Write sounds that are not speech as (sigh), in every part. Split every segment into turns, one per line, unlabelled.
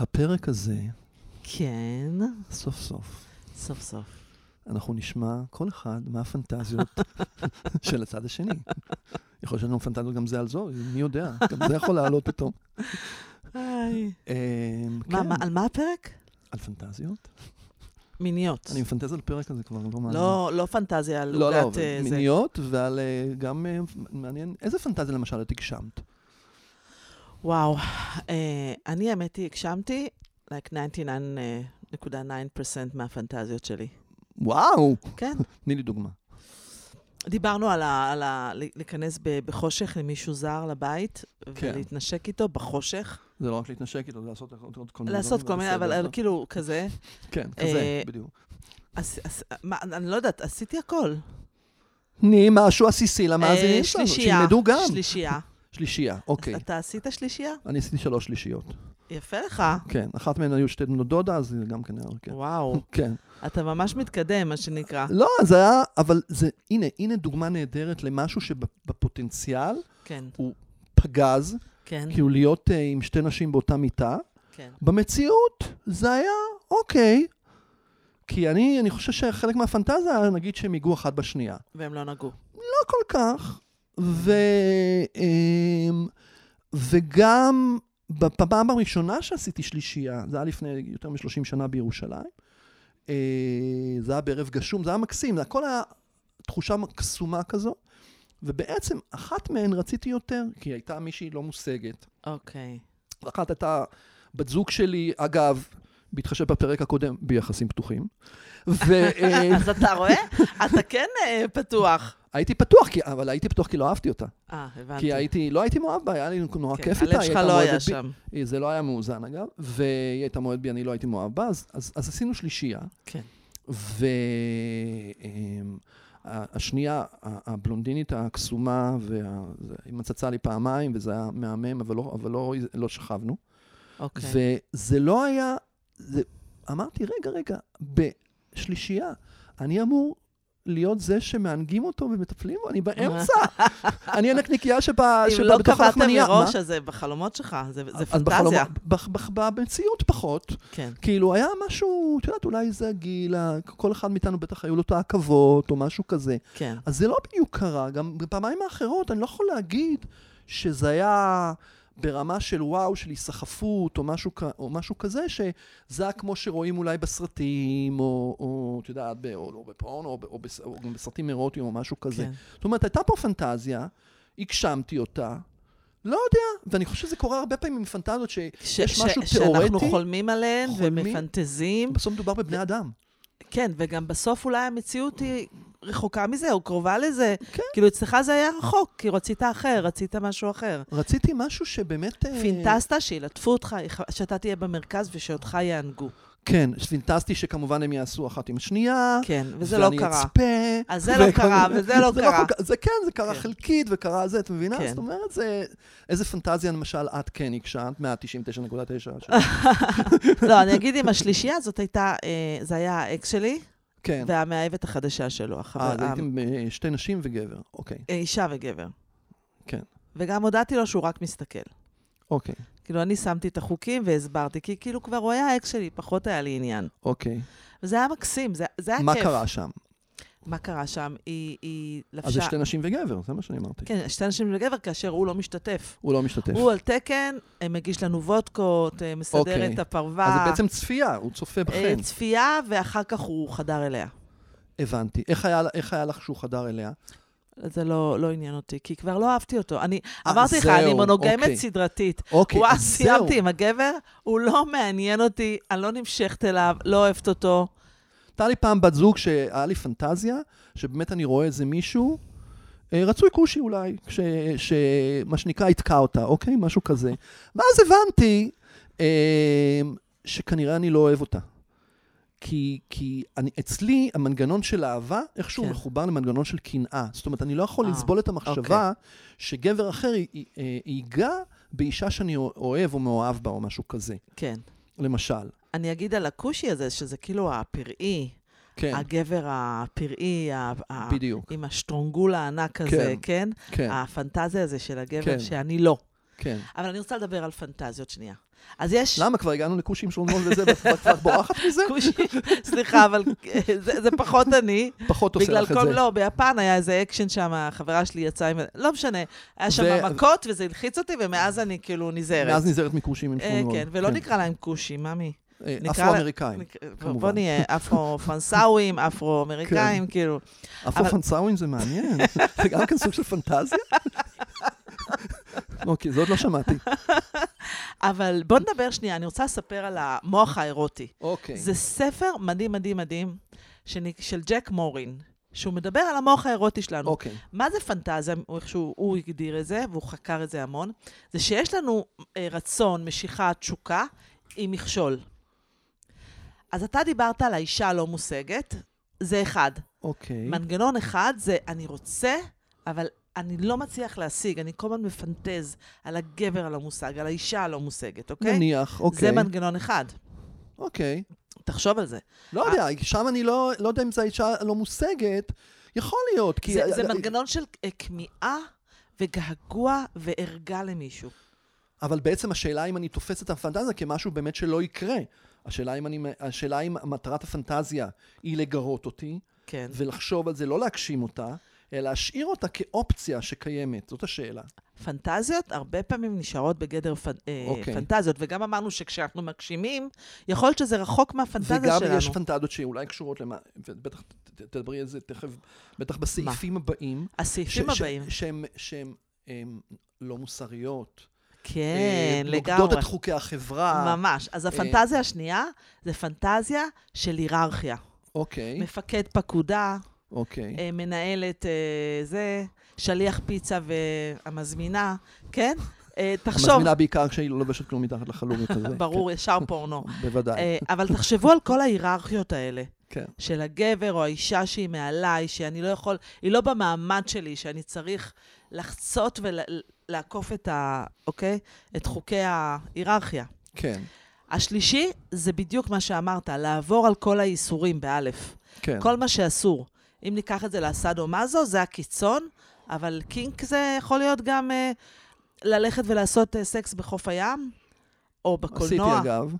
הפרק הזה,
כן,
סוף סוף,
סוף סוף.
אנחנו נשמע כל אחד מהפנטזיות (laughs) של הצד השני. יכול להיות שלנו פנטזיות גם זה על זו, מי יודע, גם זה יכול לעלות פתאום.
היי.
אמ,
מה,
כן,
מה- על מה הפרק?
על פנטזיות?
מיניות.
אני מפנטז על פרק הזה כבר, לא מעניין.
לא, לא פנטזיה על
לא, לא,
עוגת אה, זה.
מיניות ועל אה, גם, אה, מעניין, איזה פנטזיה למשל את הגשמת?
וואו. אה, אני, האמת היא, הגשמתי, like אה, 99.9% מהפנטזיות שלי.
וואו!
כן.
תני לי דוגמה.
דיברנו על, ה, על ה, להיכנס ב, בחושך למישהו זר לבית,
כן.
ולהתנשק איתו בחושך.
זה לא רק להתנשק איתו, זה לעשות עוד עוד כל מיני
לעשות
דברים,
כל מיני,
בסדר,
אבל
לא?
אבל כאילו, כזה.
כן, כזה,
אה,
בדיוק.
אז, אז, מה, אני לא יודעת, עשיתי הכל.
תני משהו עסיסי
אה,
למאזינים שלנו,
שלישייה,
שילמדו גם.
שלישייה.
שלישייה, אוקיי.
אתה עשית שלישייה?
אני עשיתי שלוש שלישיות.
יפה לך.
כן, אחת מהן היו שתי בנות דודה, אז זה גם כן היה... כן. (laughs)
וואו,
כן.
אתה ממש מתקדם, מה שנקרא.
לא, זה היה... אבל זה... הנה, הנה דוגמה נהדרת למשהו שבפוטנציאל
כן,
פגז,
כן,
כאילו להיות אה, עם שתי נשים באותה מיטה.
כן.
במציאות זה היה אוקיי. כי אני, אני חושב שחלק מהפנטזיה היה, נגיד שהם היגעו אחת בשנייה.
והם לא נגעו.
לא כל כך. ו... אמ, וגם בפעם הראשונה שעשיתי שלישייה, זה היה לפני יותר מ-30 שנה בירושלים, אה, זה היה בערב גשום, זה היה מקסים, זה הכל היה תחושה מקסומה כזו, ובעצם אחת מהן רציתי יותר, כי הייתה מישהי לא מושגת.
אוקיי.
אחת הייתה בת זוג שלי, אגב, בהתחשב בפרק הקודם, ביחסים פתוחים. אה, (laughs) והייתי
(laughs) אז אתה רואה? אתה כן אה, פתוח.
פתוח, כי, אבל הייתי פתוח כי לא אהבתי אותה.
אה, הבנתי.
כי הייתי, לא הייתי מאוהב בה, היה לי נורא
כן,
כיף איתה.
הלב
היא
שלך
הייתה
לא
מועדת
היה
בי.
שם.
אה, זה לא היה מאוזן אגב, והיא הייתה מועדת בי, אני לא הייתי מאוהב בה, אז, אז, אז עשינו שלישייה. אמ,
כן.
והשנייה, הבלונדינית הקסומה, וה, זה- היא מצצה לי פעמיים, וזה היה מהמם, אבל לא, אבל לא, לא שכבנו.
אוקיי.
וזה לא היה, זה, אמרתי, רגע, רגע, בשלישייה, אני אמור להיות זה שמענגים אותו ומטפלים בו, אני
(laughs)
באמצע. אני הנקניקייה שבה,
אם
שבה
לא
בתוך
קבעת
הלחמנייה.
מראש,
מה?
אז זה בחלומות שלך, זה זה
אז בחלום-
פנטזיה.
בח- בח- במציאות פחות,
כן,
כאילו היה משהו, את יודעת, אולי זה הגיל, ה- כל אחד מאיתנו בטח היו לו את העכבות או משהו כזה.
כן.
אז זה לא בדיוק קרה, גם בפעמיים האחרות אני לא יכול להגיד שזה היה ברמה של וואו, של היסחפות או משהו, כ- או משהו כזה, שזה היה כמו שרואים אולי בסרטים, או, או את יודעת, ב- או, או בפורנו, או, ב- או, בס- או גם בסרטים אירוטיים או משהו כזה.
כן.
זאת אומרת, הייתה פה פנטזיה, הגשמתי אותה, לא יודע, ואני חושב שזה קורה הרבה פעמים עם פנטזיות
ש-
שיש
ש-
משהו
שאנחנו
תיאורטי,
חולמים עליהן
חולמים.
ומפנטזים.
בסוף מדובר בבני אדם.
כן, וגם בסוף אולי המציאות היא רחוקה מזה, או קרובה לזה.
כן.
כאילו, אצלך זה היה רחוק, כי רצית אחר, רצית משהו אחר.
רציתי משהו שבאמת... אה,
פינטסת שילטפו אותך, שאתה תהיה במרכז ושאותך יענגו.
כן, פינטסטי שכמובן הם יעשו אחת עם השנייה.
כן, וזה לא
ואני
קרה.
אצפה.
אז זה לא
וכל-
קרה, וזה לא קרה.
כל- זה כן, זה קרה
כן.
חלקית, וקרה זה, את מבינה?
כן.
זאת אומרת, זה... איזה פנטזיה, למשל, את כן הגשמת, 199.9
(laughs)
ש-
לא, אני אגיד עם השלישייה, זאת הייתה, אה, זה היה האקס שלי,
כן.
והמאהבת החדשה שלו, החבר,
אה, אז
ה-
הייתם אה, שתי נשים וגבר. אוקיי,
אה, אישה וגבר.
כן.
וגם הודעתי לו שהוא רק מסתכל.
אוקיי,
כאילו, אני שמתי את החוקים והסברתי, כי כאילו כבר הוא היה האקס שלי, פחות היה לי עניין.
אוקיי.
וזה היה מקסים, זה, זה היה
מה
כיף.
קרה שם?
מה קרה שם? היא, היא
אז זה
לבשה...
שתי נשים וגבר, זה מה שאני אמרתי.
כן, שתי נשים וגבר, כאשר הוא לא משתתף.
הוא לא משתתף.
הוא על תקן, אה, מגיש לנו וודקות, אה, מסדר
אוקיי.
את הפרווה.
אז זה בעצם צפייה, הוא צופה
אה,
בכם.
צפייה, ואחר כך הוא חדר אליה.
הבנתי. איך היה- איך היה לך שהוא חדר אליה?
זה לא, לא עניין אותי, כי כבר לא אהבתי אותו. אני
אה,
אמרתי לך, אני
זהו,
מונוגמת
אוקיי.
סדרתית.
אוקיי,
וואו,
אז זהו.
אה, סיימתי עם הגבר, הוא לא מעניין אותי, אני לא נמשכת אליו, לא אוהבת אותו.
הייתה לי פעם בת זוג שהיה לי פנטזיה, שבאמת אני רואה איזה מישהו, אה, רצוי כושי אולי, ש, ש, מה שנקרא, התקע אותה, אוקיי? משהו כזה. ואז הבנתי אה, שכנראה אני לא אוהב אותה. כי, כי אני, אצלי המנגנון של אהבה איכשהו
כן.
כן. מחובר למנגנון של קנאה. זאת אומרת, אני לא יכול
אה, אוקיי.
לסבול את המחשבה שגבר אחר י- י- אה, ייגע באישה שאני אוהב או מאוהב בה או משהו כזה,
כן.
למשל.
אני אגיד על הכושי הזה, שזה כאילו הפראי,
כן,
הגבר הפראי, ה- ה-
בדיוק.
עם השטרונגול הענק הזה, כן?
כן,
הפנטזיה הזה של הגבר
כן.
שאני לא.
כן.
אבל אני רוצה לדבר על פנטזיות שנייה. אז יש...
למה? כבר הגענו לכושים שלונות וזה, ואת כבר- כבר בורחת מזה?
כושי, (laughs) סליחה, אבל אה, זה, זה פחות
(laughs)
אני.
פחות עושה
בגלל
לך את
כל...
זה.
לא, ביפן היה איזה אקשן שם, החברה שלי יצאה עם... לא משנה. היה שם
ו-
מכות, וזה הלחיץ אותי, ומאז אני כאילו נזהרת.
מאז אה, נזהרת מכושים עם
אה,
שלונות.
כן, ולא נקרא להם כושים, ממי.
אה,
נקרא-
אפרו-אמריקאים.
נק- בוא-
כמובן. כן.
בוא נהיה
(laughs)
אפרו-פרנסאווים, אפרו-אמריקאים, כאילו.
אפרו-פנסאווים זה
(laughs)
מעניין. זה גם כן סוג של פנטזיה? אוקיי, זה עוד לא שמעתי.
אבל בוא נדבר שנייה, אני רוצה לספר על המוח האירוטי.
אוקיי.
זה ספר מדהים, מדהים, מדהים, שנק- של ג'ק מורין, שהוא מדבר על המוח האירוטי שלנו.
אוקיי.
מה זה פנטזיה, או איך שהוא הוא הגדיר את זה, והוא חקר את זה המון, זה שיש לנו אה, רצון, משיכה, תשוקה, עם מכשול. אז אתה דיברת על האישה הלא מושגת, זה אחד.
אוקיי.
מנגנון אחד זה אני רוצה, אבל אני לא מצליח להשיג, אני כל הזמן מפנטז על הגבר הלא מושג, על האישה הלא מושגת, אוקיי?
נניח, אוקיי.
זה מנגנון אחד.
אוקיי.
תחשוב על זה.
לא יודע, שם אני לא לא יודע אם זו האישה לא מושגת. יכול להיות, כי...
זה, זה מנגנון של אה, כמיהה וגעגוע וערגה למישהו.
אבל בעצם השאלה אם אני תופס את הפנטזיה כמשהו באמת שלא יקרה. השאלה אם, אני, השאלה אם מטרת הפנטזיה היא לגרות אותי,
כן.
ולחשוב על זה, לא להגשים אותה, אלא להשאיר אותה כאופציה שקיימת. זאת השאלה.
פנטזיות הרבה פעמים נשארות בגדר פנ...
אוקיי.
okay. פנטזיות, וגם אמרנו שכשאנחנו מגשימים, יכול להיות שזה רחוק מהפנטזיה
וגם
שלנו.
יש פנטזיות שאולי קשורות למה, ובטח ת- תדברי על זה תכף, בטח בסעיפים הבאים.
הסעיפים
ש- אה, ש-
הבאים.
שהן- שהן הם לא מוסריות.
כן,
אה, נוגדות
לגמרי.
את אה. חוקי החברה.
ממש. אז הפנטזיה השנייה זה פנטזיה של היררכיה.
אוקיי,
מפקד פקודה,
אוקיי.
אה, מנהלת אה, זה, שליח פיצה והמזמינה, כן? אה, תחשוב,
מזמינה בעיקר כשהיא לא לובשת כלום מתחת
(laughs)
לחלומית הזה.
ברור, ישר
(laughs)
פורנו.
כן, בוודאי,
אה, אבל תחשבו על כל ההיררכיות האלה.
כן.
של הגבר או האישה שהיא מעליי, שאני לא יכול, היא לא במעמד שלי, שאני צריך לחצות ולעקוף את ה... אוקיי? את חוקי ההיררכיה.
כן,
השלישי, זה בדיוק מה שאמרת, לעבור על כל האיסורים, באלף.
כן.
כל מה שאסור. אם ניקח את זה לסאדו מאזו, זה הקיצון, אבל קינק זה יכול להיות גם אה, ללכת ולעשות אה, סקס בחוף הים, או
עשיתי
בקולנוע.
אגב,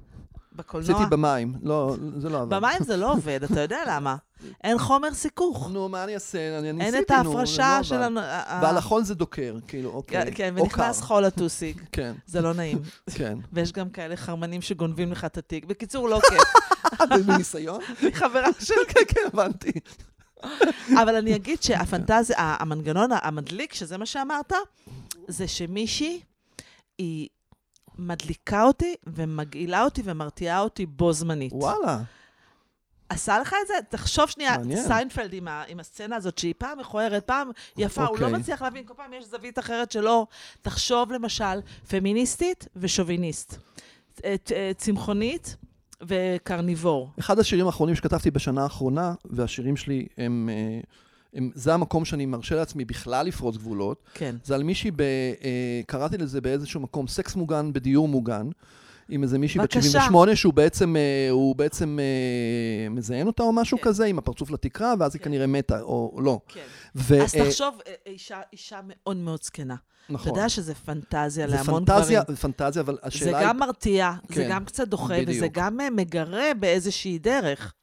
בקולנוע.
עשיתי במים, לא, זה לא עבר.
במים זה לא עובד, אתה יודע למה. אין חומר סיכוך.
נו, מה אני אעשה? אני אני
אין
ניסיתי,
את
נו, זה
ההפרשה
לא
של...
עבד.
הנ- ה-
ועל
ה-
החול זה דוקר, כאילו, אוקיי.
כן,
או
ונכנס
קר.
חול לטוסיק. (laughs)
כן,
זה
(laughs)
לא נעים.
כן.
ויש גם כאלה חרמנים שגונבים לך את התיק. בקיצור, לא
(laughs)
כיף.
אה,
(laughs)
מניסיון?
אני חברה של...
כן, כן, הבנתי.
אבל אני
(laughs)
אגיד שהפנטזיה, ה- המנגנון המדליק, שזה מה שאמרת, זה שמישהי, היא מדליקה אותי ומגעילה אותי ומרתיעה אותי בו זמנית.
וואלה.
עשה לך את זה? תחשוב שנייה,
מעניין.
סיינפלד עם, ה, עם הסצנה הזאת, שהיא פעם מכוערת, פעם יפה, הוא לא
אוקיי.
מצליח להבין, כל פעם יש זווית אחרת שלו. תחשוב למשל, פמיניסטית ושוביניסט. את, אה, צמחונית וקרניבור.
אחד השירים האחרונים שכתבתי בשנה האחרונה, והשירים שלי הם... אה, הם- זה המקום שאני מרשה לעצמי בכלל לפרוץ גבולות,
כן.
זה על מישהי, ב, אה, קראתי לזה באיזשהו מקום, סקס מוגן בדיור מוגן, עם איזה מישהי בת
בבקשה.
78, שהוא בעצם, אה, הוא בעצם אה, מזיין אותה או משהו
כן.
כזה, עם הפרצוף לתקרה, ואז היא
כן.
כנראה מתה, או או לא.
כן.
ו-
אז
אה,
תחשוב, אה, אישה, אישה מאוד מאוד זקנה. אתה
נכון.
יודע שזה פנטזיה
זה
להמון
פנטזיה,
גברים.
זה פנטזיה, אבל
זה
השאלה היא...
גם מרתיע, זה
כן,
גם קצת דוחה, וזה
בדיוק.
גם אה, מגרה באיזושהי דרך.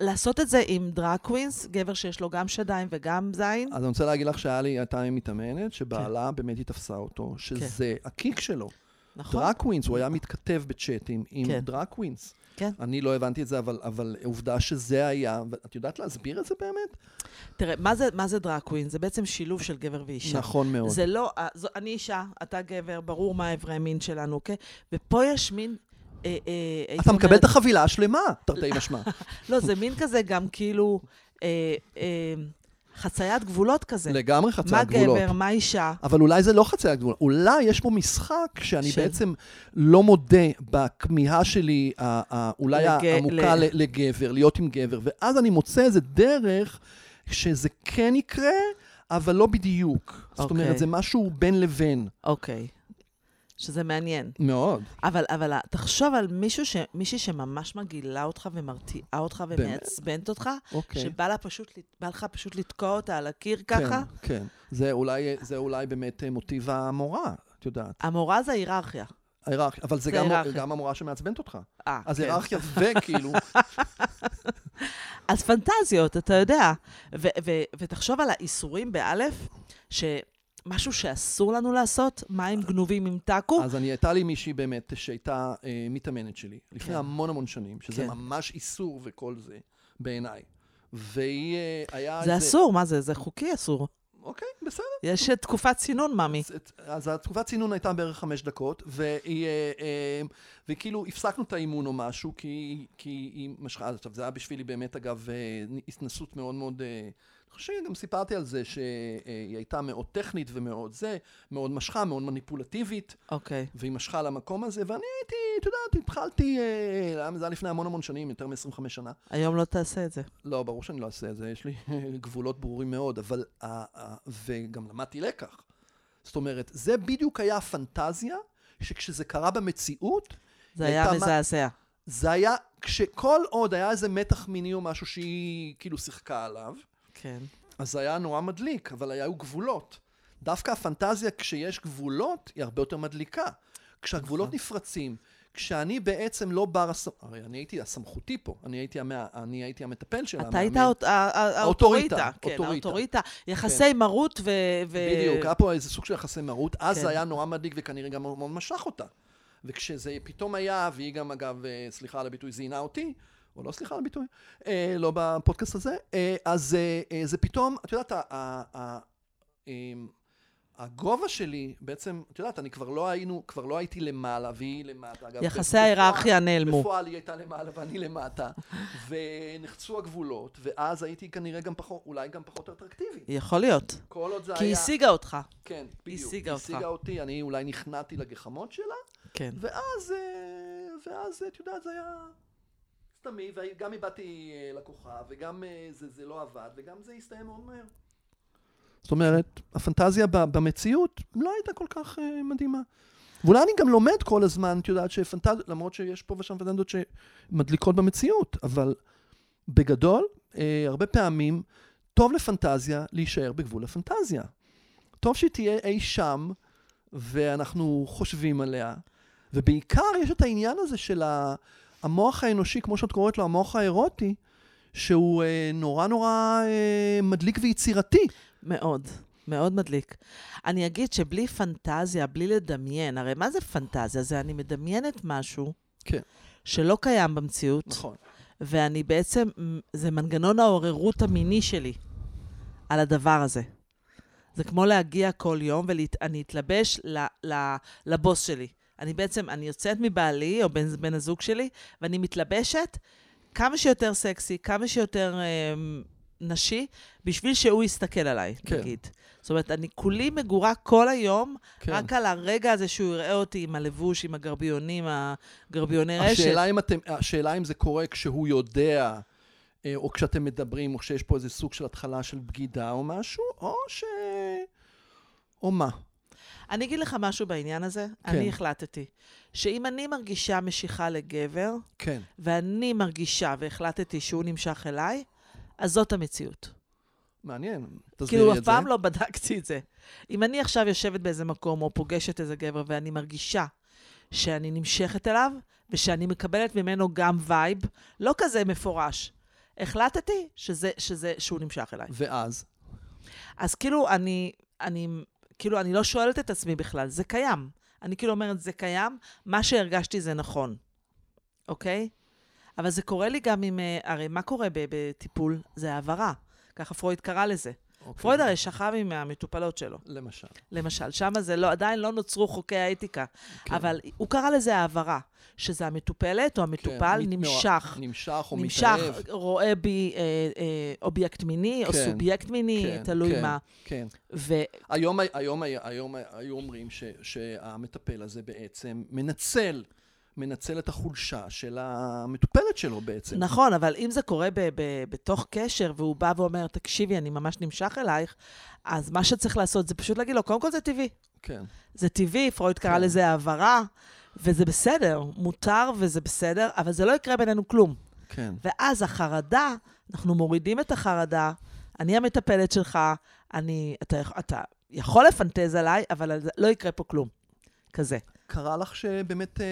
לעשות את זה עם דראק קווינס, גבר שיש לו גם שדיים וגם זין,
אז אני רוצה להגיד לך שהיה לי, הייתה לי מתאמנת, שבעלה
כן.
באמת היא תפסה אותו, שזה הקיק שלו.
נכון?
דראקווינס, הוא היה מתכתב בצ'אטים עם
כן.
דראקווינס.
כן.
אני לא הבנתי את זה, אבל, אבל עובדה שזה היה, את יודעת להסביר את זה באמת?
תראה, מה זה, מה זה דראק קווין? זה בעצם שילוב של גבר ואישה.
נכון מאוד.
זה לא, אה, זו, אני אישה, אתה גבר, ברור מה איברי המין שלנו, אוקיי? ופה יש מין... אה, אה, הייתי
אתה מקבל
אומרת-
את החבילה השלמה, תרתי משמע.
לא, זה מין כזה גם כאילו אה, אה, חציית גבולות כזה.
לגמרי
מה
חציית גבולות.
גבר, מה אישה.
אבל אולי זה לא חציית גבולות. אולי יש פה משחק שאני
של-
בעצם לא מודה בכמיהה שלי, ה- ה- אולי
לג-
העמוקה
ל-
ל- לגבר, להיות עם גבר, ואז אני מוצא איזה דרך שזה כן יקרה, אבל לא בדיוק. זאת
אוקיי.
אומרת, זה משהו בין לבין.
אוקיי. שזה מעניין.
מאוד.
אבל, אבל ה- תחשוב על מישהו ש, מישהי שממש מגעילה אותך ומרתיעה אותך
באמת?
ומעצבנת אותך,
אוקיי.
שבא לה פשוט, לת- בא לך פשוט לתקוע אותה על הקיר
כן,
ככה.
כן. זה אולי, זה אולי באמת אה, מוטיב המורה, את יודעת.
המורה זה היררכיה.
ההיררכיה. אבל זה
זה
גם-
היררכיה.
גם המורה שמעצבנת אותך.
אה,
אה, אז
כן.
היררכיה
(laughs)
וכאילו,
אז פנטזיות, אתה יודע. ו- ו- ותחשוב על האיסורים באלף, שמשהו שאסור לנו לעשות, מים גנובים עם טאקו,
אז אני, הייתה לי מישהי באמת שהייתה אה, מתאמנת שלי, לפני
כן.
המון המון שנים, שזה
כן.
ממש איסור וכל זה, בעיניי. והיא אה, היה...
זה
איזה-
אסור, מה זה? זה חוקי אסור.
אוקיי, בסדר.
יש תקופת צינון, ממי.
אז- אז התקופת צינון הייתה בערך חמש דקות, והיא, אה, אה, וכאילו הפסקנו את האימון או משהו, כי, כי היא משכה, אז עכשיו זה היה בשבילי באמת אגב אה, התנסות מאוד מאוד, אה, אני חושב שגם סיפרתי על זה שהיא הייתה מאוד טכנית ומאוד זה, מאוד משכה, מאוד מניפולטיבית,
אוקיי.
והיא משכה למקום הזה, ואני הייתי, את יודעת, התחלתי, אה, למה זה היה לפני המון המון שנים, יותר מ-25 שנה.
היום לא תעשה את זה.
לא, ברור שאני לא אעשה את זה, יש לי אה, גבולות ברורים מאוד, אבל, ה- ה- וגם למדתי לקח. זאת אומרת, זה בדיוק היה הפנטזיה, שכשזה קרה במציאות,
זה
היא
היה
הייתה מה-
מזעזע.
זה היה, כשכל עוד היה איזה מתח מיני או משהו שהיא כאילו שיחקה עליו,
כן.
אז זה היה נורא מדליק, אבל היו גבולות. דווקא הפנטזיה, כשיש גבולות, היא הרבה יותר מדליקה. כשהגבולות
נכון.
נפרצים, כשאני בעצם לא בר הסמ... הרי אני הייתי הסמכותי פה, אני הייתי, המא... אני הייתי המטפל שלה.
אתה היית
המאמן.
האות- ה- ה-
האוטוריטה,
האוטוריטה. כן,
אוטוריטה.
האוטוריטה. יחסי מרות ו... ו-
בדיוק, היה פה איזה סוג של יחסי מרות, אז
אה, כן.
זה היה נורא מדליק וכנראה גם מאוד מאוד משך אותה. וכשזה פתאום היה, והיא גם אגב, אה, סליחה על הביטוי, זיינה אותי, או לא סליחה על הביטוי, אה, לא בפודקאסט הזה, אה, אז אה, אה, זה פתאום, את יודעת, ה- ה- ה- אמ, הגובה שלי, בעצם, את יודעת, אני כבר לא היינו, כבר לא הייתי למעלה, והיא למטה. אגב,
יחסי
בפועל-
ההיררכיה נעלמו.
בפועל היא הייתה למעלה ואני
(laughs)
למטה, ונחצו הגבולות, ואז הייתי כנראה גם פחות, אולי גם פחות אטרקטיבי.
יכול להיות.
כל עוד זה
כי
היה...
היא השיגה אותך.
כן, בדיוק. היא
השיגה אותך.
השיגה אותי, אני אולי נכנעתי לגחמות שלה,
כן.
ואז, אה, ואז, את יודעת, זה היה סתמי, וגם איבדתי אה, לקוחה, וגם אה, זה, זה לא עבד, וגם זה הסתיים מאוד מהר. זאת אומרת, הפנטזיה ב- במציאות לא הייתה כל כך אה, מדהימה. ואולי אני גם לומד כל הזמן, את יודעת, שפנטזיות, למרות שיש פה ושם פנטזיות שמדליקות במציאות, אבל בגדול, אה, הרבה פעמים, טוב לפנטזיה להישאר בגבול הפנטזיה. טוב שהיא תהיה אי שם, ואנחנו חושבים עליה, ובעיקר יש את העניין הזה של ה- המוח האנושי, כמו שאת קוראת לו, המוח האירוטי, שהוא אה, נורא נורא אה, מדליק ויצירתי.
מאוד. מאוד מדליק. אני אגיד שבלי פנטזיה, בלי לדמיין, הרי מה זה פנטזיה? זה אני מדמיינת משהו
כן. נכון.
שלא קיים במציאות, ואני בעצם, זה מנגנון העוררות המיני שלי על הדבר הזה. זה כמו להגיע כל יום ואני אתלבש ל, ל, לבוס שלי. אני בעצם, אני יוצאת מבעלי או בן, בן הזוג שלי, ואני מתלבשת כמה שיותר סקסי, כמה שיותר אה, נשי, בשביל שהוא יסתכל עליי,
כן.
כן. נגיד. זאת אומרת, אני כולי מגורה כל היום,
כן.
כן. רק על הרגע הזה שהוא יראה אותי עם הלבוש, עם הגרביונים, הגרביוני רשת.
השאלה אם, אתם, השאלה אם זה קורה כשהוא יודע, אה, או כשאתם מדברים, או כשיש פה איזה סוג של התחלה של בגידה או משהו, או ש... או מה?
אני אגיד לך משהו בעניין הזה.
כן.
כן. אני החלטתי שאם אני מרגישה משיכה לגבר,
כן.
ואני מרגישה והחלטתי שהוא נמשך אליי, אז זאת המציאות.
מעניין, תסבירי
כאילו,
את
אף
זה.
פעם לא בדקתי את זה. אם אני עכשיו יושבת באיזה מקום או פוגשת איזה גבר ואני מרגישה שאני נמשכת אליו, ושאני מקבלת ממנו גם וייב, לא כזה מפורש. החלטתי שזה, שזה, שהוא נמשך אליי.
ואז?
אז כאילו, אני, אני, כאילו, אני לא שואלת את עצמי בכלל, זה קיים. אני כאילו אומרת, זה קיים, מה שהרגשתי זה נכון, אוקיי? אבל זה קורה לי גם עם, אה, הרי מה קורה ב- בטיפול? זה העברה. ככה פרויד קרא לזה.
אוקיי.
פרויד הרי שכב עם המטופלות שלו,
למשל.
למשל. שם זה לא, עדיין לא נוצרו חוקי האתיקה.
כן.
אבל הוא קרא לזה העברה, שזה המטופלת או המטופל
מת-
נמשך.
כן. נמשך או
נמשך,
מתאהב.
רואה בי אה, אה, אובייקט מיני או
כן,
סובייקט מיני,
כן,
תלוי
כן,
מה.
כן.
ו-
היום, היום, היום היו אומרים ש, שהמטפל הזה בעצם מנצל, מנצל את החולשה של המטופלת שלו בעצם.
נכון, אבל אם זה קורה ב- ב- בתוך קשר, והוא בא ואומר, תקשיבי, אני ממש נמשך אלייך, אז מה שצריך לעשות זה פשוט להגיד לו, קודם כל זה טבעי.
כן.
זה טבעי, פרויד קרא
כן.
לזה העברה, וזה בסדר, מותר וזה בסדר, אבל זה לא יקרה בינינו כלום.
כן.
ואז החרדה, אנחנו מורידים את החרדה, אני המטפלת שלך, אני, אתה, יכ- אתה יכול לפנטז עליי, אבל לא יקרה פה כלום. כזה.
קרה לך שבאמת, אה,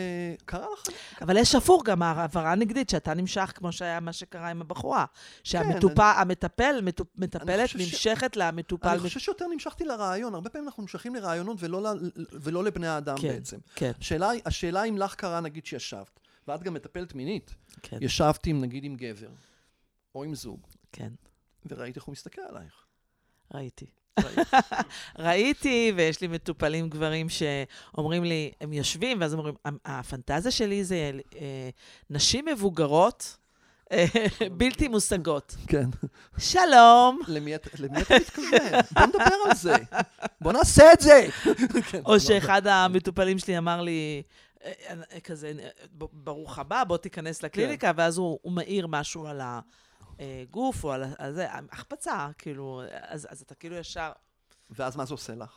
קרה לך?
אבל יש הפוך גם העברה נגדית, שאתה נמשך, כמו שהיה מה שקרה עם הבחורה.
כן, אני-
שהמטפל, מטפלת
חושב ש-
נמשכת למטופל.
אני חושב שיותר נמשכתי לרעיון, הרבה פעמים אנחנו נמשכים לרעיונות ולא, ל- ולא לבני האדם
כן,
בעצם.
כן,
השאלה, היא- השאלה אם לך קרה, נגיד שישבת, ואת גם מטפלת מינית,
כן,
ישבת עם, נגיד עם גבר, או עם זוג,
כן,
וראית איך הוא מסתכל עלייך.
ראיתי.
ראית.
(laughs) ראיתי, ויש לי מטופלים גברים שאומרים לי, הם יושבים, ואז אומרים, "ה- הפנטזיה שלי זה אה, נשים מבוגרות אה, (laughs) בלתי (laughs) מושגות.
כן.
שלום.
למי אתה למי אתה מתכוון? בוא נדבר על זה. בוא נעשה את זה! כן,
או
לא,
שאחד המטופלים שלי אמר לי, אה, אה, כזה, אה, ב- ברוך הבא, בוא תיכנס לקליניקה, ואז הוא הוא מעיר משהו על הגוף או על ה- על זה, החפצה, כאילו, אז אז אתה כאילו ישר...
ואז מה זה עושה לך?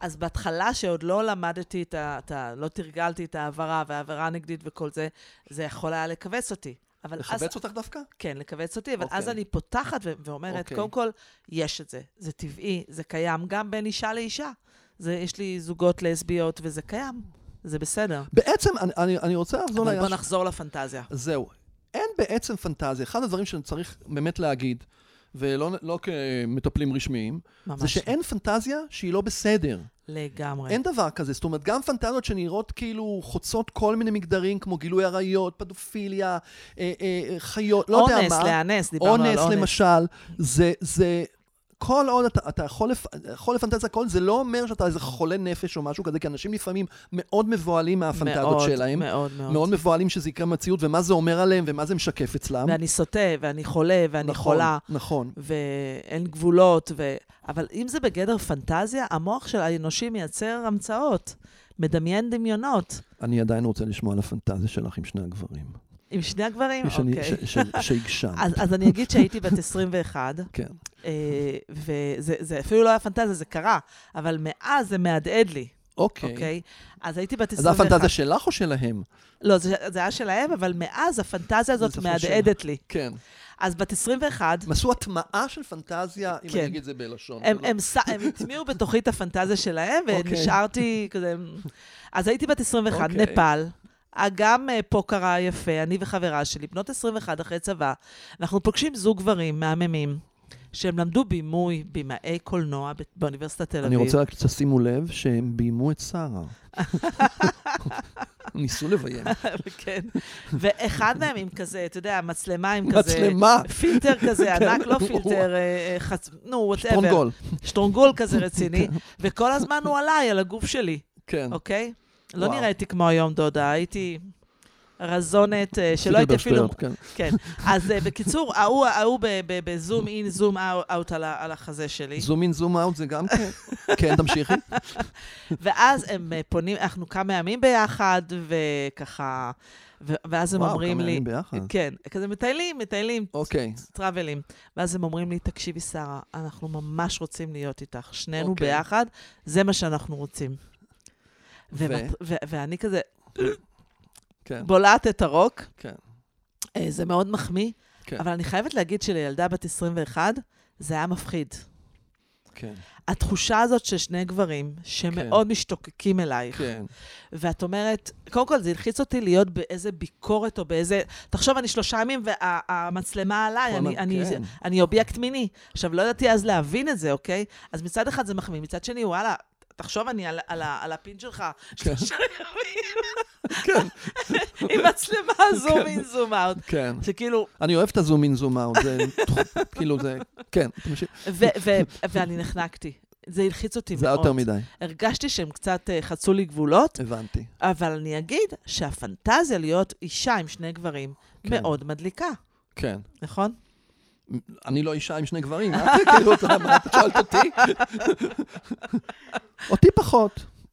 אז בהתחלה, שעוד לא למדתי את ה... את ה לא תרגלתי את ההעברה והעבירה הנגדית וכל זה, זה יכול היה לכווץ אותי. אבל אז...
לחבץ אותך דווקא?
כן, לכווץ אותי, אבל אז
אוקיי.
אני פותחת ו- ואומרת,
אוקיי.
קודם כל, יש את זה. זה טבעי, זה קיים גם בין אישה לאישה. זה, יש לי זוגות לסביות וזה קיים, זה בסדר.
בעצם, אני- אני- אני רוצה לחזור
אבל
לעניין
בוא
ש-
נחזור לפנטזיה.
זהו. אין בעצם פנטזיה. אחד הדברים שאני צריך באמת להגיד, ולא לא כמטפלים רשמיים,
ממש. אה.
זה שאין פנטזיה שהיא לא בסדר.
לגמרי.
אין דבר כזה. זאת אומרת, גם פנטזיות שנראות כאילו חוצות כל מיני מגדרים, כמו גילוי עריות, פדופיליה, אה, אה, חיות, לא יודע מה.
אונס, לאנס, דיברנו על
אונס,
אונס.
למשל, זה, זה, כל עוד אתה, אתה יכול, לפ, יכול לפנטזיה הכל, זה לא אומר שאתה איזה חולה נפש או משהו כזה, כי אנשים לפעמים מאוד מבוהלים מהפנטזיות
מאוד,
שלהם.
מאוד, מאוד.
מאוד מבוהלים שזה יקרה במציאות, ומה זה אומר עליהם, ומה זה משקף אצלם.
ואני סוטה, ואני חולה, ואני
נכון,
חולה.
נכון.
ואין גבולות, ו... אבל אם זה בגדר פנטזיה, המוח של האנושי מייצר המצאות, מדמיין דמיונות.
אני עדיין רוצה לשמוע על הפנטזיה שלך עם שני הגברים.
עם שני הגברים,
שאני-
אוקיי.
ש- ש- שהגשמת.
אז, אז אני אגיד שהייתי בת 21,
כן.
אה, וזה זה אפילו לא היה פנטזיה, זה קרה, אבל מאז זה מהדהד לי,
אוקיי.
אוקיי? אז הייתי בת
אז זו
21.
הפנטזיה שלך או שלהם?
לא, זה, זה היה שלהם, אבל מאז הפנטזיה הזאת
זה זכור
מהדהדת לי.
כן.
אז בת 21,
הם עשו הטמעה של פנטזיה, אם
כן.
אני אגיד את זה בלשון.
הם,
לא-
הם, ס- הם הטמיעו בתוכי את הפנטזיה שלהם,
אוקיי.
ונשארתי כזה... אז הייתי בת 21,
אוקיי.
נפאל. אה, גם אה, פה קרה יפה, אני וחברה שלי, בנות 21 אחרי צבא, אנחנו פוגשים זוג גברים מהממים, שהם למדו בימוי, במאי קולנוע ב- באוניברסיטת תל אביב.
אני רוצה רק שתשימו לב שהם ביימו את שרה. (laughs) ניסו (laughs) לביים.
(laughs) כן. ואחד מהם עם כזה, אתה יודע, מצלמה עם כזה...
מצלמה,
פילטר כזה,
(laughs) כן.
ענק, לא פילטר, אה, אה, חצ... נו, וואטאבר.
שטרונגול.
שטרונגול כזה
(laughs)
רציני, וכל הזמן הוא עליי, על הגוף שלי.
כן.
אוקיי? לא
וואו.
נראיתי כמו היום, דודה, הייתי רזונת, אה,
עשיתי
שלא הייתי אפילו...
בשטויות, כן.
כן. אז אה, בקיצור, ההוא ההוא ב- ב- בזום אין, זום אאוט על ה- על החזה שלי.
זום אין, זום אאוט זה גם כן. (laughs) כן, תמשיכי.
ואז הם אה, פונים, אנחנו כמה ימים ביחד, וככה... ו- ואז הם
וואו,
אומרים
כמה
לי...
ימים (laughs) ביחד.
כן, כזה מטיילים, מטיילים,
אוקיי.
טראבלים. ואז הם אומרים לי, תקשיבי, שרה, אנחנו ממש רוצים להיות איתך. שנינו
אוקיי.
ביחד, זה מה שאנחנו רוצים.
ו?
ומת- ו- ואני כזה
כן,
בולעת את הרוק,
כן.
אה, זה מאוד מחמיא,
כן.
כן. אבל אני חייבת להגיד שלילדה בת 21, זה היה מפחיד.
כן,
התחושה הזאת של שני גברים שמאוד משתוקקים אלייך,
כן.
ואת אומרת, קודם כל זה הלחיץ אותי להיות באיזה ביקורת או באיזה... תחשוב, אני שלושה ימים והמצלמה עליי,
כל
אני,
ה-
אני,
כן.
זה, אני אובייקט מיני. עכשיו, לא ידעתי אז להבין את זה, אוקיי? אז מצד אחד זה מחמיא, מצד שני, וואלה, תחשוב, אני על, על, ה- על הפין שלך,
כן.
שלושה ימים, (laughs) עם מצלמה זום אין זום אאוט.
(laughs)
כאילו,
כן.
שכאילו,
אני אוהב את הזום אין, זום אאוט. זה (laughs) כאילו זה... כן, תמשיכי.
ו- ו- ואני נחנקתי. זה הלחיץ אותי
זה היה
מאוד.
יותר מדי.
הרגשתי שהם קצת אה, חצו לי גבולות,
הבנתי.
אבל אני אגיד שהפנטזיה להיות אישה עם שני גברים
כן.
מאוד מדליקה,
כן.
נכון?
אני לא אישה עם שני גברים, (laughs) אה? כאילו, אתה מה, את שואלת (laughs) אותי? אותי פחות.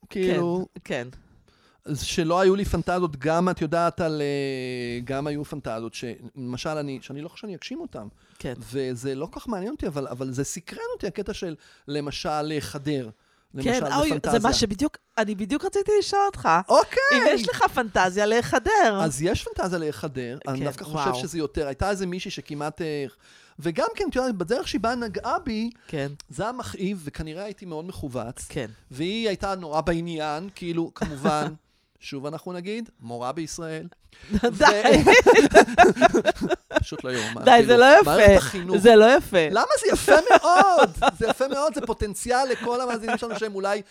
כאילו,
כן.
אז שלא היו לי פנטזיות, גם את יודעת על... אה, גם היו פנטזיות, שלמשל, אני, שאני לא חושב שאני אגשים אותן.
כן.
וזה לא כל כך מעניין אותי, אבל, אבל זה סקרן אותי, הקטע של למשל אה, חדר. למשל,
כן,
זה
אוי,
פנטזיה.
זה מה שבדיוק, אני בדיוק רציתי לשאול אותך, אם
אוקיי!
יש לך פנטזיה להיחדר.
אז יש פנטזיה להיחדר, אני
כן,
דווקא חושב
וואו.
שזה יותר. הייתה איזה מישהי שכמעט... אה, וגם כן, את יודעת, בדרך שהיא נגעה בי,
כן,
זה היה מכאיב, וכנראה הייתי מאוד מכווץ.
כן.
והיא הייתה נורא בעניין, כאילו,
(laughs)
כמובן, שוב אנחנו נגיד, מורה בישראל. ו-
(laughs) די,
פשוט לא יאומן.
די, זה
כאילו,
לא
מערכת
יפה.
החינוך.
זה לא יפה.
למה זה יפה מאוד? זה יפה מאוד, זה פוטנציאל לכל המאזינים שלנו שהם אולי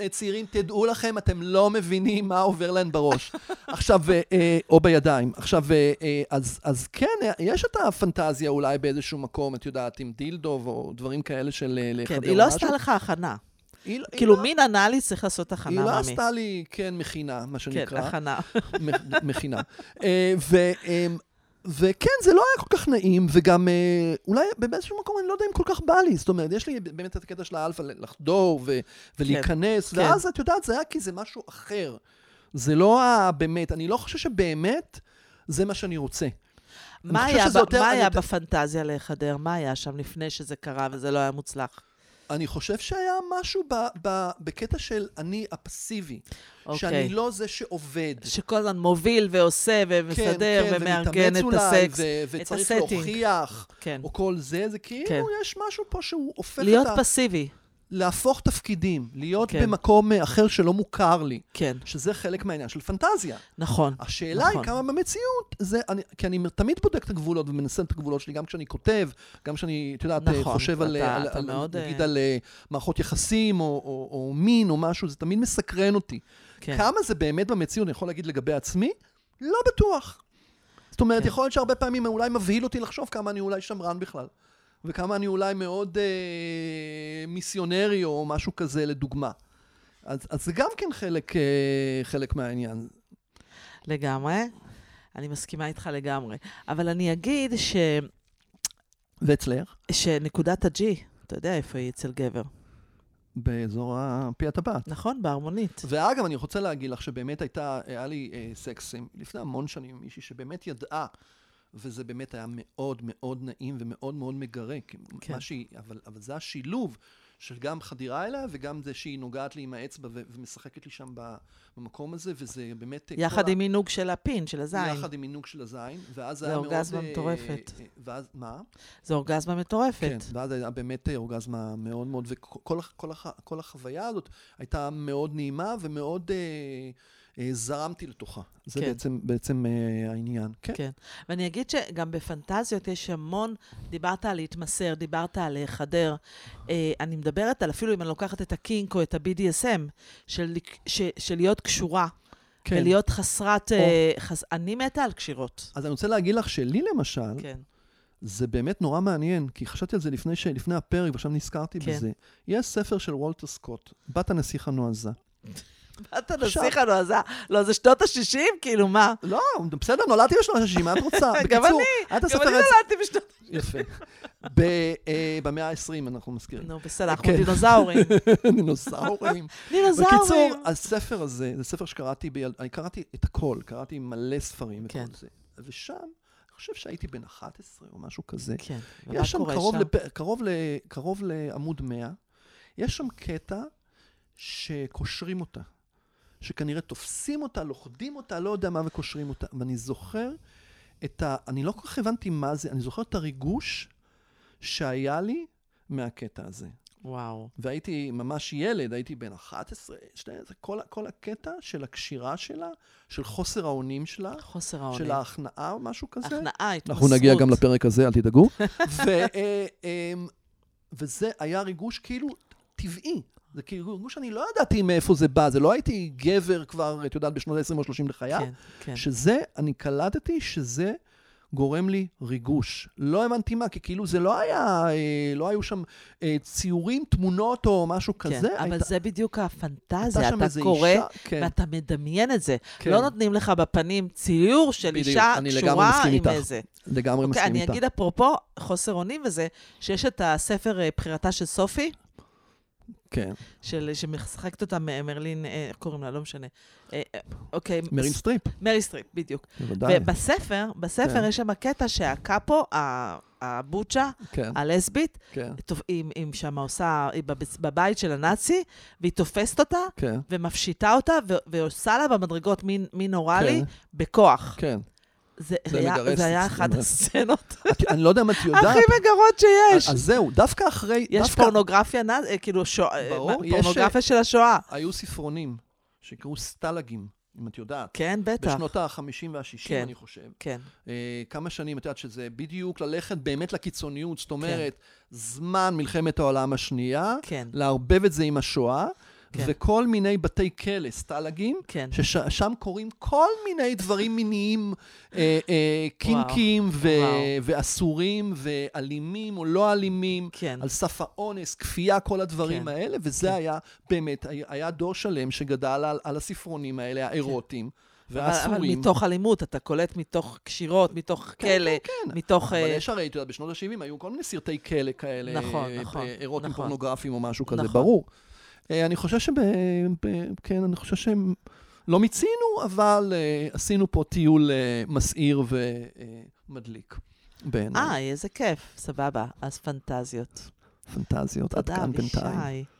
אה, צעירים, תדעו לכם, אתם לא מבינים מה עובר להם בראש. עכשיו, אה, אה, או בידיים. עכשיו, אה, אה, אז, אז כן, אה, יש את הפנטזיה אולי באיזשהו מקום, את יודעת, עם דילדו או דברים כאלה של אה, לחבר
כן, היא לא
משהו.
עשתה לך הכנה.
היא לא- היא
כאילו,
לא-
מין אנאלי צריך לעשות הכנה,
היא
מאמי.
לא עשתה לי, כן, מכינה, מה
כן,
שנקרא.
הכנה.
מכ- מכינה. אה, ו- אמ, וכן, זה לא היה כל כך נעים, וגם אה, אולי באיזשהו מקום אני לא יודע אם כל כך בא לי. זאת אומרת, יש לי באמת את הקטע של האלפא ל- לחדור ו- ולהיכנס,
כן.
ואז את יודעת, זה היה כי זה משהו אחר. זה לא ה- באמת, אני לא חושב שבאמת זה מה שאני רוצה.
מה
חושב
היה
שזה
ב-
יותר-
מה
אני
היה
יותר-
בפנטזיה לחדר? מה היה שם לפני שזה קרה וזה לא היה מוצלח?
אני חושב שהיה משהו ב- ב- בקטע של אני הפסיבי. שאני
אוקיי.
לא זה שעובד.
שכל הזמן מוביל ועושה ומסדר ומארגן
כן, ומתאמץ
את
אולי,
הסקס.
ו- וצריך
הסטינג.
להוכיח.
כן.
או כל זה, זה כאילו,
כן.
יש משהו פה שהוא הופך
להיות
את ה...
פסיבי.
להפוך תפקידים, להיות
כן.
במקום אה, אחר שלא מוכר לי,
כן,
שזה חלק מהעניין של פנטזיה.
נכון.
השאלה נכון.
נכון.
היא כמה במציאות, זה, אני, כי אני תמיד בודק את הגבולות ומנסה את הגבולות שלי, גם כשאני כותב, גם כשאני, את יודעת,
נכון,
נכון, חושב על,
אתה-
על,
אתה
על,
מאוד,
על, נגיד
אה,
על אה, מערכות יחסים, או, או, או מין, או משהו, זה תמיד מסקרן אותי.
כן.
כמה זה באמת במציאות, אני יכול להגיד לגבי עצמי? לא בטוח. זאת אומרת,
כן.
כן. יכול להיות שהרבה פעמים אולי מבהיל אותי לחשוב כמה אני אולי שמרן בכלל, וכמה אני אולי מאוד אה, מיסיונרי או משהו כזה, לדוגמה. אז, אז זה גם כן חלק, אה, חלק מהעניין.
לגמרי. אני מסכימה איתך לגמרי. אבל אני אגיד ש...
ואצלך?
שנקודת הג'י, אתה יודע איפה היא אצל גבר,
באזור הפי הטבעת.
נכון? בהרמונית.
ואגב, אני רוצה להגיד לך שבאמת הייתה, היה לי אה, סקס עם- לפני המון שנים עם מישהי שבאמת ידעה, וזה באמת היה מאוד מאוד נעים ומאוד מאוד מגרה.
כן.
כן. מה שהיא, אבל, אבל זה השילוב של גם חדירה אליה, וגם זה שהיא נוגעת לי עם האצבע ו- ומשחקת לי שם ב- במקום הזה, וזה באמת... אה, כל
יחד
ה-
עם עינוג של הפין, של הזין.
יחד עם מינוג של הזין, ואז
זה
היה מאוד...
אורגזמה
אה,
מטורפת.
אה, ואז, מה?
זו אורגזמה מטורפת.
כן, ואז היה באמת אה, אורגזמה מאוד מאוד, וכל הח- כל הח- כל החוויה הזאת הייתה מאוד נעימה ומאוד אה, אה, זרמתי לתוכה. זה
כן.
בעצם- בעצם אה, העניין. כן.
כן. ואני אגיד שגם בפנטזיות יש המון, דיברת על להתמסר, דיברת על להיחדר. אה, אני מדברת על אפילו אם אני לוקחת את הקינק או את ה-BDSM, של, לק- ש, של להיות קשורה, כן.
כן.
ולהיות חסרת... אה, חס... אני מתה על קשירות.
אז אני רוצה להגיד לך שלי למשל,
כן,
זה באמת נורא מעניין, כי חשבתי על זה לפני, ש... לפני הפרק, ועכשיו נזכרתי
כן.
בזה. יש ספר של וולטר סקוט, בת הנסיך הנועזה.
אתה
עכשיו-
נסיך לנו, אז לא, זה שנות ה-60? כאילו, מה?
לא, בסדר, נולדתי בשנות ה-60, מה את רוצה?
(laughs) גם
בקיצור, את
גם
הספר
אני לא-
הזה...
נולדתי בשנות...
יפה. ב- אה, במאה ה-20, אנחנו מזכירים.
נו, בסדר, אנחנו
כן.
דינוזאורים.
(laughs) דינוסאורים.
דינוזאורים.
בקיצור, הספר הזה, זה ספר שקראתי, ביל... אני קראתי את הכל, קראתי מלא ספרים
כן.
וכל זה. ושם, אני חושב שהייתי בן 11 או משהו כזה.
כן, ומה
יש שם
קורה
קרוב,
שם?
לפ... קרוב, ל... קרוב לעמוד 100, יש שם קטע שקושרים אותה. שכנראה תופסים אותה, לוכדים אותה, לא יודע מה, וקושרים אותה. ואני זוכר את ה... אני לא כל כך הבנתי מה זה, אני זוכר את הריגוש שהיה לי מהקטע הזה.
וואו.
והייתי ממש ילד, הייתי בן 11, 12, כל, ה- כל הקטע של הקשירה שלה, של חוסר האונים שלה,
חוסר נכון, האונים.
של ההכנעה או משהו כזה.
הכנעה, התמסרות.
אנחנו נגיע גם לפרק הזה, אל תדאגו. (laughs) ו, אה, אה, וזה היה ריגוש כאילו טבעי. זה כאילו ריגוש שאני לא ידעתי מאיפה זה בא, זה לא הייתי גבר כבר, את יודעת, בשנות ה-20 או 30 לחיי.
כן, כן.
שזה, אני קלטתי שזה גורם לי ריגוש. לא הבנתי מה, כי כאילו זה לא היה, אה, לא היו שם אה, ציורים, תמונות או משהו
כן,
כזה.
אבל
הייתה-
זה בדיוק
הייתה
הפנטזיה,
שם
אתה
איזו
קורא
אישה- כן,
ואתה מדמיין את זה.
כן.
לא נותנים לך בפנים ציור של
בדיוק,
אישה
אני לגמרי
קשורה
מסכים
עם
איתך.
איזה.
לגמרי
אוקיי,
מסכים
אני
איתה.
אגיד אפרופו חוסר אונים וזה, שיש את הספר אה, בחירתה של סופי,
כן,
של- שמשחקת אותה מ- מרלין, אה, איך קוראים לה? לא משנה. אה, אה, אוקיי,
מרין
ס-
סטריפ,
מרי סטריפ, בדיוק.
בוודאי.
ובספר, בספר
כן.
יש שם קטע שהקאפו, ה- הבוצ'ה,
כן,
הלסבית,
כן,
טוב, היא, היא שם עושה, היא בב- בבית של הנאצי, והיא תופסת אותה
כן,
ומפשיטה אותה ו- ועושה לה במדרגות מין, מין אוראלי
כן.
(laughs) בכוח.
כן.
זה
זה
היה-
מגרש,
זה היה
זה
אחת
מגרש.
הסצנות
את- אני לא יודע אם את (laughs) יודעת.
הכי מגרות שיש.
אז זהו, דווקא אחרי...
יש
דווקא-
פורנוגרפיה, נאצ- אה, כאילו, שואה, אה,
ברור,
מה-
יש,
פורנוגרפיה של השואה.
היו ספרונים שקראו סטלגים, אם את יודעת.
כן, בטח.
בשנות ה-50 וה-60,
כן.
אני חושב.
כן,
אה, כמה שנים, את יודעת שזה בדיוק ללכת באמת לקיצוניות, זאת אומרת, זמן מלחמת העולם השנייה,
כן,
לערבב את זה עם השואה,
כן.
וכל מיני בתי כלא, סטלגים,
כן.
ששם קורים כל מיני דברים מיניים, אה, אה, קינקים ו-
וואו.
ואסורים ואלימים או לא אלימים.
כן.
על סף האונס, כפייה, כל הדברים
כן.
כן. האלה, וזה
כן.
כן. היה באמת, היה- היה דור שלם שגדל על, על הספרונים האלה, האירוטים
כן. אבל- אבל
והאסורים.
מתוך אלימות, אתה קולט מתוך קשירות, מתוך כלא,
כן.
מתוך...
אבל
אה,
יש הרי, את יודעת, בשנות ה-70 היו כל מיני סרטי כלא כאלה,
נכון,
אה,
נכון,
אה, אירוטים
נכון.
פורנוגרפיים או משהו כזה,
נכון.
ברור. אה, אני חושב שב... ב- כן, אני חושב שהם... לא מיצינו, אבל אה, עשינו פה טיול אה, מסעיר אה, ומדליק. בעיניי.
אה, איזה כיף, סבבה. אז פנטזיות.
פנטזיות, עד
תודה,
כאן בינתיים.
אבישי.